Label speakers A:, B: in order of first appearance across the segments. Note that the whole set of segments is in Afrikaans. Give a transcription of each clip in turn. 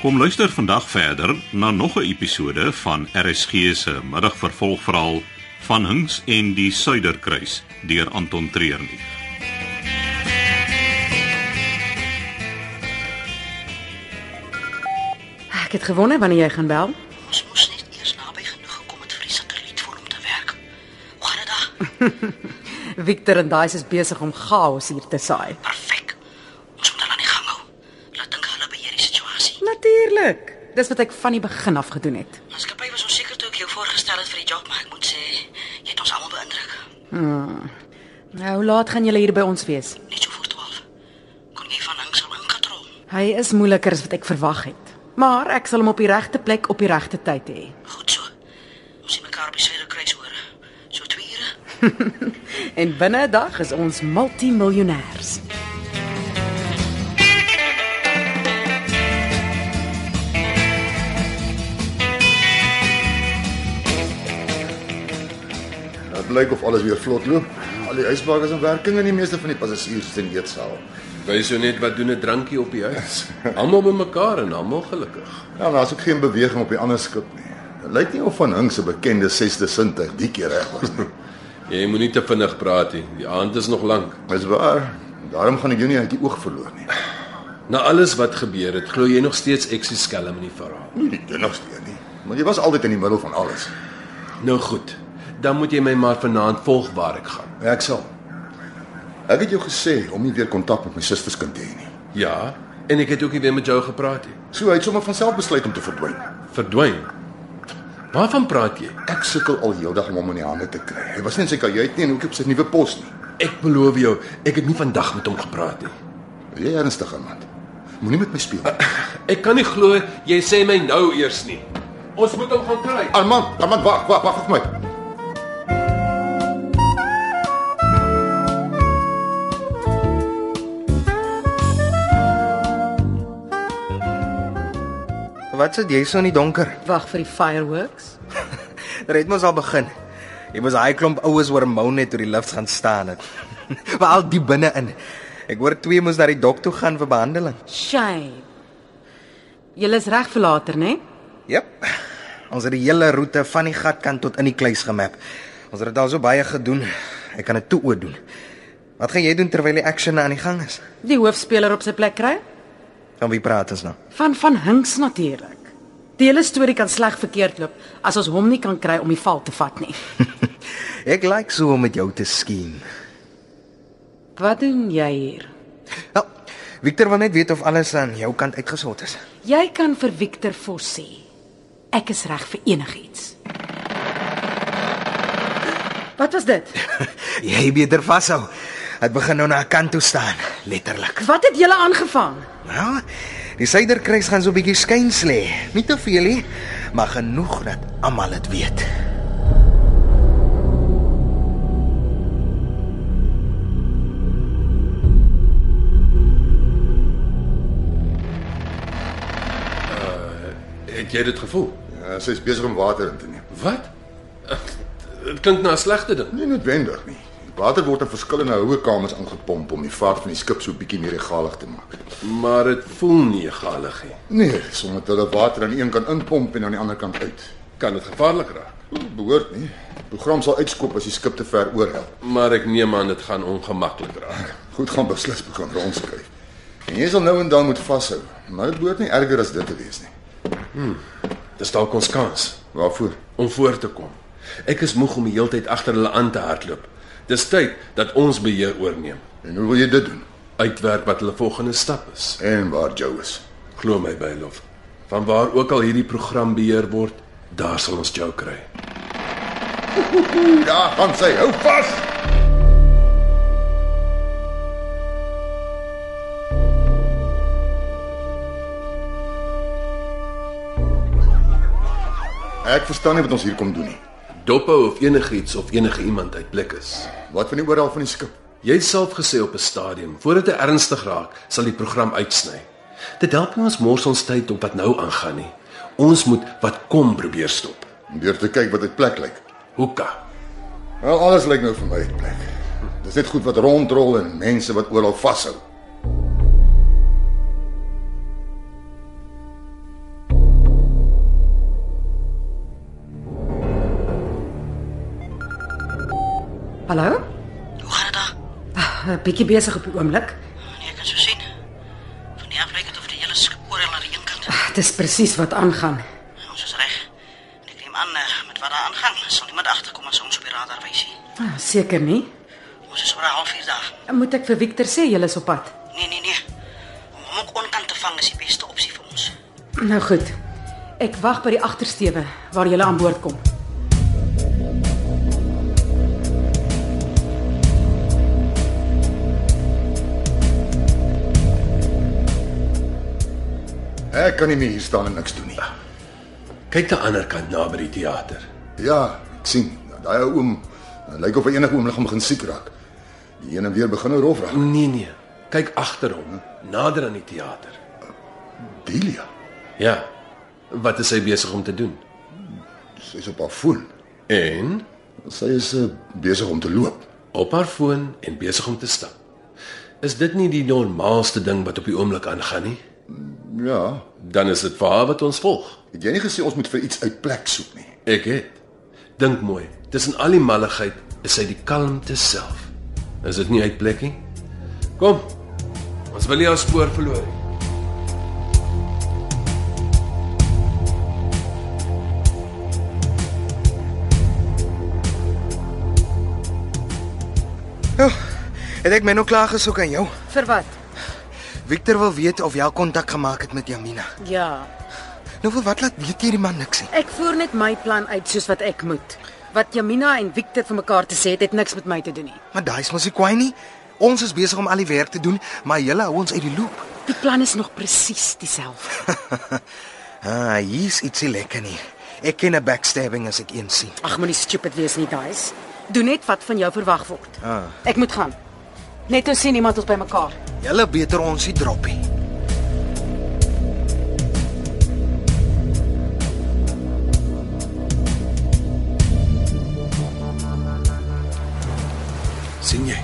A: Kom luister vandag verder na nog 'n episode van RSG se middagvervolgverhaal van Hinks en die Suiderkruis deur Anton Treurnig.
B: Ek het gewonder wanneer jy gaan bel.
C: Ons moes net eers naby genoeg gekom het vir die satelliet vir hom te werk. Hoe gaan dit daar?
B: Victor en Daisy is besig om chaos hier te saai.
C: Perfek. Ons moet hulle aan die gang hou. Laat dink hulle beheer die situasie.
B: Natuurlik. Dis wat ek van die begin af gedoen het.
C: Maatskappy was onseker toe ek jou voorgestel het vir die job, maar ek moet sê, jy het ons almal beïndruk.
B: Nou, hoe laat gaan julle hier by ons wees?
C: Net so voor 12. Kon jy van links al inkatrol?
B: Hy is moeiliker as wat ek verwag het. Maar ek sal hom op die regte plek op die regte tyd hê.
C: Goed so. Ons sien mekaar op die Suider kruis hoor. So 2 ure.
B: En binne 'n dag is ons multimiljonêers.
D: Dit blyk Ja, of alles weer vlot loop. Al die ysbakke is in werking en die meeste van die passasiers is in die eetsaal.
E: Wys jou net wat doen 'n drankie op die huis. Almal bymekaar en almal gelukkig.
D: Ja, daar's ook geen beweging op die ander skip nie. Dit lyk nie of van Hing se bekende sesde sintuig die keer reg was nie.
E: Jy moenie te vinnig praat nie. Die aand is nog lank.
D: Dis waar. Daarom gaan ek jou nie uit die oog verloor nie.
E: Na alles wat gebeur het, glo jy nog steeds ek is skelm in die verhaal.
D: Nie die dunnigste een nie. Maar jy was altyd in die middel van alles.
E: Nou goed. Dan moet jy my maar vanaand volg waar ek gaan.
D: Ja, ek sal. Ek het jou gesê om nie weer kontak met my susterskind te hê nie.
E: Ja, en ek het ook nie weer met jou gepraat nie.
D: So hy het sommer van self besluit om te verdwyn.
E: Verdwyn. Waarvan praat jy?
D: Ek sukkel al heeldag om hom in die hande te kry. Hy was nie in sy kajuit nie en ook nie op sy nuwe pos nie.
E: Ek beloof jou, ek het nie vandag met hom gepraat nie.
D: Is Jy ernstig, man. Moenie met my speel.
E: Ek kan nie glo jy sê my nou eers nie. Ons moet hom gaan kry.
D: Armand, Armand, wag, wag, wag vir my.
F: Wat sit jy so in die donker?
B: Wag vir die fireworks.
F: Red mos al begin. Jy was daai klomp oues oor 'n mou net toe die lift gaan staan het. Veral die binne-in. Ek hoor twee moes na die dok toe gaan vir behandeling.
B: Shame. Julle is reg vir later, né?
F: Jep. Ons het die hele roete van die gatkant tot in die kluis gemap. Ons het dit al so baie gedoen. Ek kan dit toe oop doen. Wat gaan jy doen terwyl die action aan die gang is?
B: Die hoofspeler op sy plek kry?
F: Van wie praat ons nou?
B: Van van Hinks natuurlik. Die hele storie kan sleg verkeerd loop as ons hom nie kan kry om die val te vat nie.
F: Ek like so om met jou te skien.
B: Wat doen jy hier?
F: Wel, Nou, Victor wil net weet of alles aan jou kant uitgesort is.
B: Jy kan vir Victor Vos sê ek is reg vir enigiets. Wat was dit?
F: Jy beter vashou. Dit begin nou na 'n kant toe staan, letterlik.
B: Wat het julle aangevang?
F: Ja. Die suiderkruis gaan so 'n bietjie skuins lê. Nie te veel nie, maar genoeg dat almal dit weet.
E: Het jy dit gevoel?
D: Ja, sy is besig om water in te neem.
E: Wat? Dit klink na 'n slegte ding.
D: Nie noodwendig nie. Water word in verskillende hoë kamers aangepomp om die vaart van die skip so bietjie meer egalig te maak.
E: Maar dit voel nie egalig nie.
D: Nee, sodat hulle water aan die een kant inpomp en aan die ander kant uit.
E: Kan dit gevaarlik raak.
D: Dit behoort nie. Die program sal uitskop as die skip te ver oorhelp.
E: Maar ek neem aan dit gaan ongemaklik raak.
D: Goed gaan beslis begin rondskuif. En jy sal nou en dan moet vashou, maar dit behoort nie erger as dit te wees nie.
E: Dis dalk ons kans
D: Waarvoor?
E: om voor te kom. Ek is moeg om die hele tyd agter hulle aan te hardloop. Dis tyd dat ons beheer oorneem.
D: En hoe wil jy dit doen?
E: Uitwerk wat hulle volgende stap is.
D: En waar Joe is.
E: Glo my, Bylof. Vanwaar ook al hierdie program beheer word, daar sal ons jou kry.
D: Ja, gaan sy. Hou vas. Ek verstaan nie wat ons hier kom doen nie.
E: Dophou of enigiets of enige iemand uit blik is.
D: Wat van die oorhaal van die skip?
E: Jy het self gesê op 'n stadium, voordat dit ernstig raak, sal die program uitsny. Dit help nie ons mors ons tyd op wat nou aangaan nie. Ons moet wat kom probeer stop.
D: Om deur te kyk wat dit plek lyk.
E: Hoeka.
D: Wel, alles lyk nou vir my uit plek. Dis net goed wat rondrol en mense wat oral vashou.
B: Hallo?
C: Hoe gaan dit daar?
B: 'n Ah, Bietjie besig op die oomblik.
C: Nee, ek kan so sien. Van die aflyk het of die hele skip oor hulle reën kan.
B: Ag, Dis presies wat aangaan.
C: Ons is reg. En ek neem aan eh, met wat daar aangaan, sal niemand agterkom as ons op die radar wys nie.
B: Ah, Seker nie.
C: Ons is oor 'n halfuur daar.
B: Moet ek vir Victor sê jy is op pad?
C: Nee, nee, nee. Om hom ook onkant te vang is die beste opsie vir ons.
B: Nou goed. Ek wag by die agtersteewe waar jy aan boord kom.
D: Ek kan nie meer hier staan en niks doen nie.
E: Kyk na ander kant naby die teater.
D: Ja, ek sien. Daai ou oom hy lyk of hy enige oomblik gaan begin siek raak. Die een en weer begin nou rof raak.
E: Nee nee, kyk agter hom, nader aan die teater.
D: Delia,
E: Ja. Wat is hy besig om te doen?
D: sy's op haar foon.
E: En
D: Sy is uh, besig om te loop.
E: op haar foon en besig om te stap. Is dit nie die normaalste ding wat op die oomblik aangaan nie?
D: Ja,
E: Dan is dit vir haar wat ons volg.
D: het jy nie gesê ons moet vir iets uit plek soek nie?
E: Ek het. Dink mooi. Tussen al die malligheid is hy die kalmte self. Is dit nie uit plek nie? Kom. Ons wil nie haar spoor verloor nie.
F: Ja, het ek my nou klaar gesoek aan jou.
B: Vir wat?
F: Victor wil weet of jy al kontak gemaak het met Jamina.
B: Ja.
F: Nou vir wat laat weet hierdie man niks nie.
B: Ek voer net my plan uit soos wat ek moet. Wat Jamina en Victor vir mekaar te sê het, het niks met my te doen nie.
F: Maar daai is mos nie kwaai nie. Ons is besig om al die werk te doen, maar julle hou ons uit die loop.
B: Die plan is nog presies dieselfde.
F: Ah, hier's ietsie lekker nie. Ek ken 'n backstabbing as ek een sien.
B: Ag, moenie stupid wees nie, guys. Doen net wat van jou verwag word. Ah. Ek moet gaan. Net ons sien iemand ons by mekaar.
F: Julle beter ons nie droppie.
E: sien jy?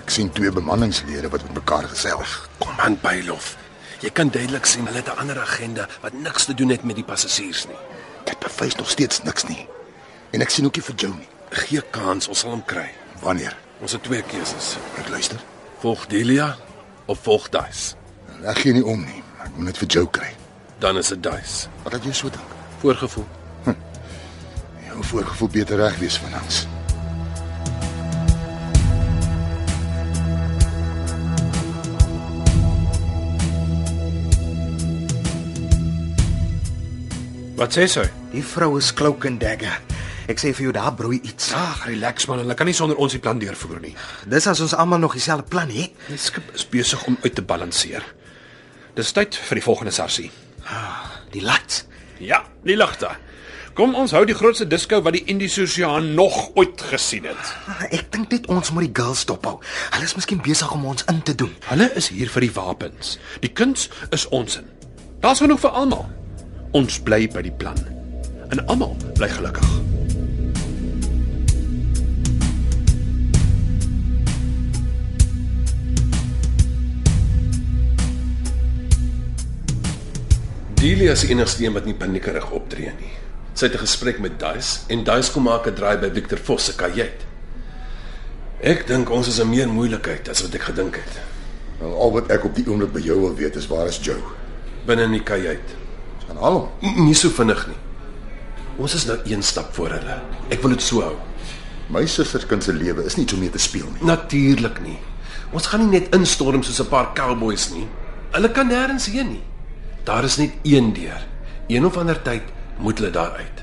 D: Ek sien twee bemanningslede wat met mekaar gesels.
E: Kom aan, Bylof. Jy kan duidelik sien hulle het 'n ander agenda wat niks te doen het met die passasiers nie.
D: Dit bewys nog steeds niks nie. En ek sien ookie vir jou nie.
E: Gee kans, ons sal hom kry.
D: Wanneer?
E: Ons het twee keuses.
D: Ek luister.
E: Volg Delia of volg Duis.
D: Ek gee nie om nie. Ek moet net vir jou kry.
E: Dan is dit Duis.
D: Wat laat jou so dink?
E: Voorgevoel.
D: Jou voorgevoel beter reg wees van ons.
G: Wat sê sy?
F: Die vrou is cloak and dagger. Ek sê vir jou daar broei iets.
G: Ag, relax man, hulle kan nie sonder ons die plan deurvoer nie.
F: Dis as ons almal nog dieselfde plan het.
G: Die skip is besig om uit te balanseer. Dis tyd vir die volgende sarsie.
F: Die lat.
G: Ja, die ligte. Kom ons hou die grootste disco wat die Indiese Oseaan nog ooit gesien het.
F: Ah, Ek dink net ons moet die girls dophou. Hulle is miskien besig om ons in te doen.
G: Hulle is hier vir die wapens. Die kuns is ons in. Daar's genoeg vir almal. Ons bly by die plan. En almal bly gelukkig.
E: Delia is die enigste een wat nie paniekerig optree nie. Sy het 'n gesprek met Duis en Duis kom maak 'n draai by Victor Vos se kajuit. Ek dink ons is in meer moeilikheid as wat ek gedink het.
D: Nou al wat ek op die oomblik by jou wil weet is waar is Joe?
E: Binne in die kajuit.
D: Ons gaan haal hom.
E: N- Nie so vinnig nie. Ons is nou een stap voor hulle. Ek wil dit so hou.
D: My susterkind se lewe is nie iets om mee te speel nie.
E: Natuurlik nie. Ons gaan nie net instorm soos 'n paar cowboys nie. Hulle kan nêrens heen nie. Daar is net een deur. Een of ander tyd moet hulle daar uit.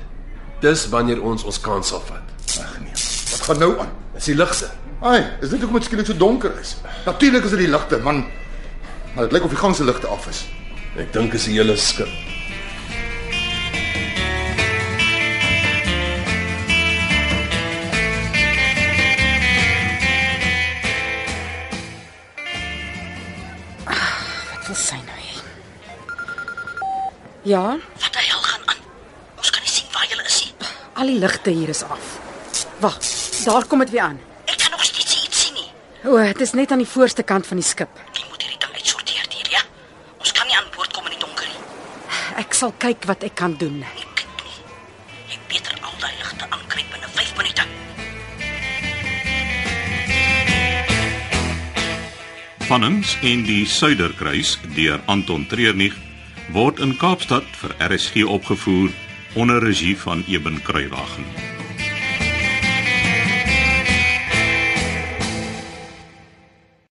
E: Dis wanneer ons ons kans sal vat.
D: Ag nee. Wat gaan nou aan?
E: Dis die ligste.
D: Ai, is dit hoekom dit skielik so donker is? Natuurlik is dit die ligte, man. Maar dit lyk of die gang se ligte af is.
E: Ek dink is die hele skip.
B: Wat wil sy nou hê? Ja,
C: Wat die hel gaan aan? Ons kan nie sien waar julle is nie.
B: al die ligte hier is af. Wag, daar kom dit weer aan.
C: Ek kan nog steeds nie iets sien nie.
B: O, dit is net aan die voorste kant van die skip.
C: Jy moet hierdie ding uitsorteer, Delia. Ons kan nie aan boord kom in die donker nie.
B: Ek sal kyk wat ek kan doen.
C: Ek kyk nie. Jy beter al daai ligte aankry binne 5 minute.
A: Van Hinks en die Suiderkruis deur Anton Treurnig word in Kaapstad vir RSG opgevoer onder regie van Eben Kruiwagen.